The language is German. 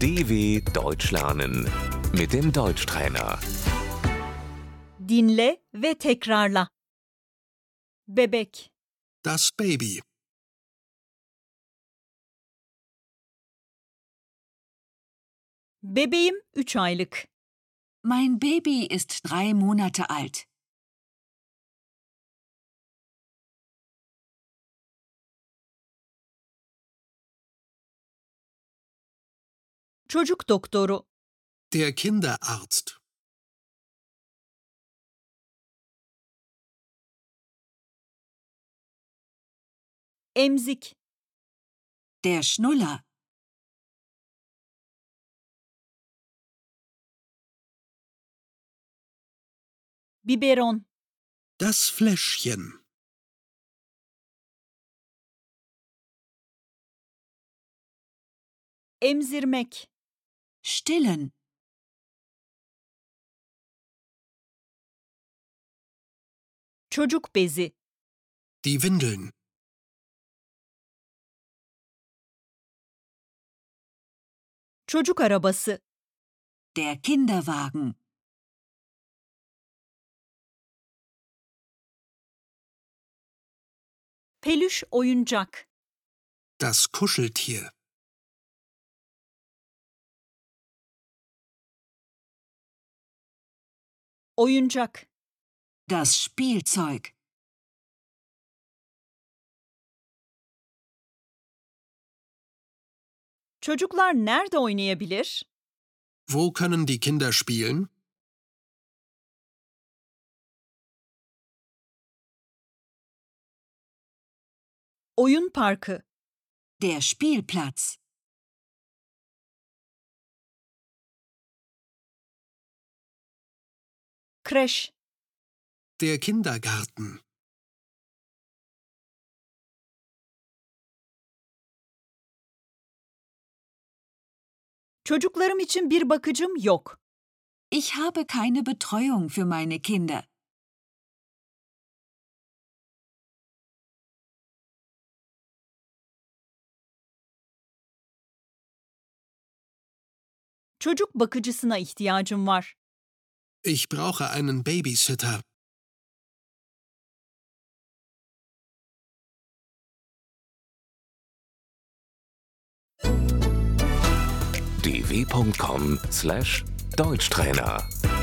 DW Deutsch lernen mit dem Deutschtrainer. Dinle ve tekrarla. Bebek, Das Baby. bebeğim 3 aylık. Mein Baby ist drei Monate alt. Çocuk doktoru, Der Kinderarzt. emzik, Der Schnuller. biberon, Das Fläschchen. emzirmek, Stillen. çocuk bezi, Die Windeln. çocuk arabası, Der Kinderwagen. peluş oyuncak, Das Kuscheltier. oyuncak, Das Spielzeug. çocuklar nerede oynayabilir? Wo können die Kinder spielen? Oyun parkı, Der Spielplatz. kreş, Der Kindergarten. çocuklarım için bir bakıcım yok. Ich habe keine Betreuung für meine Kinder. Çocuk bakıcısına ihtiyacım var. Ich brauche einen Babysitter. dw.com/deutschtrainer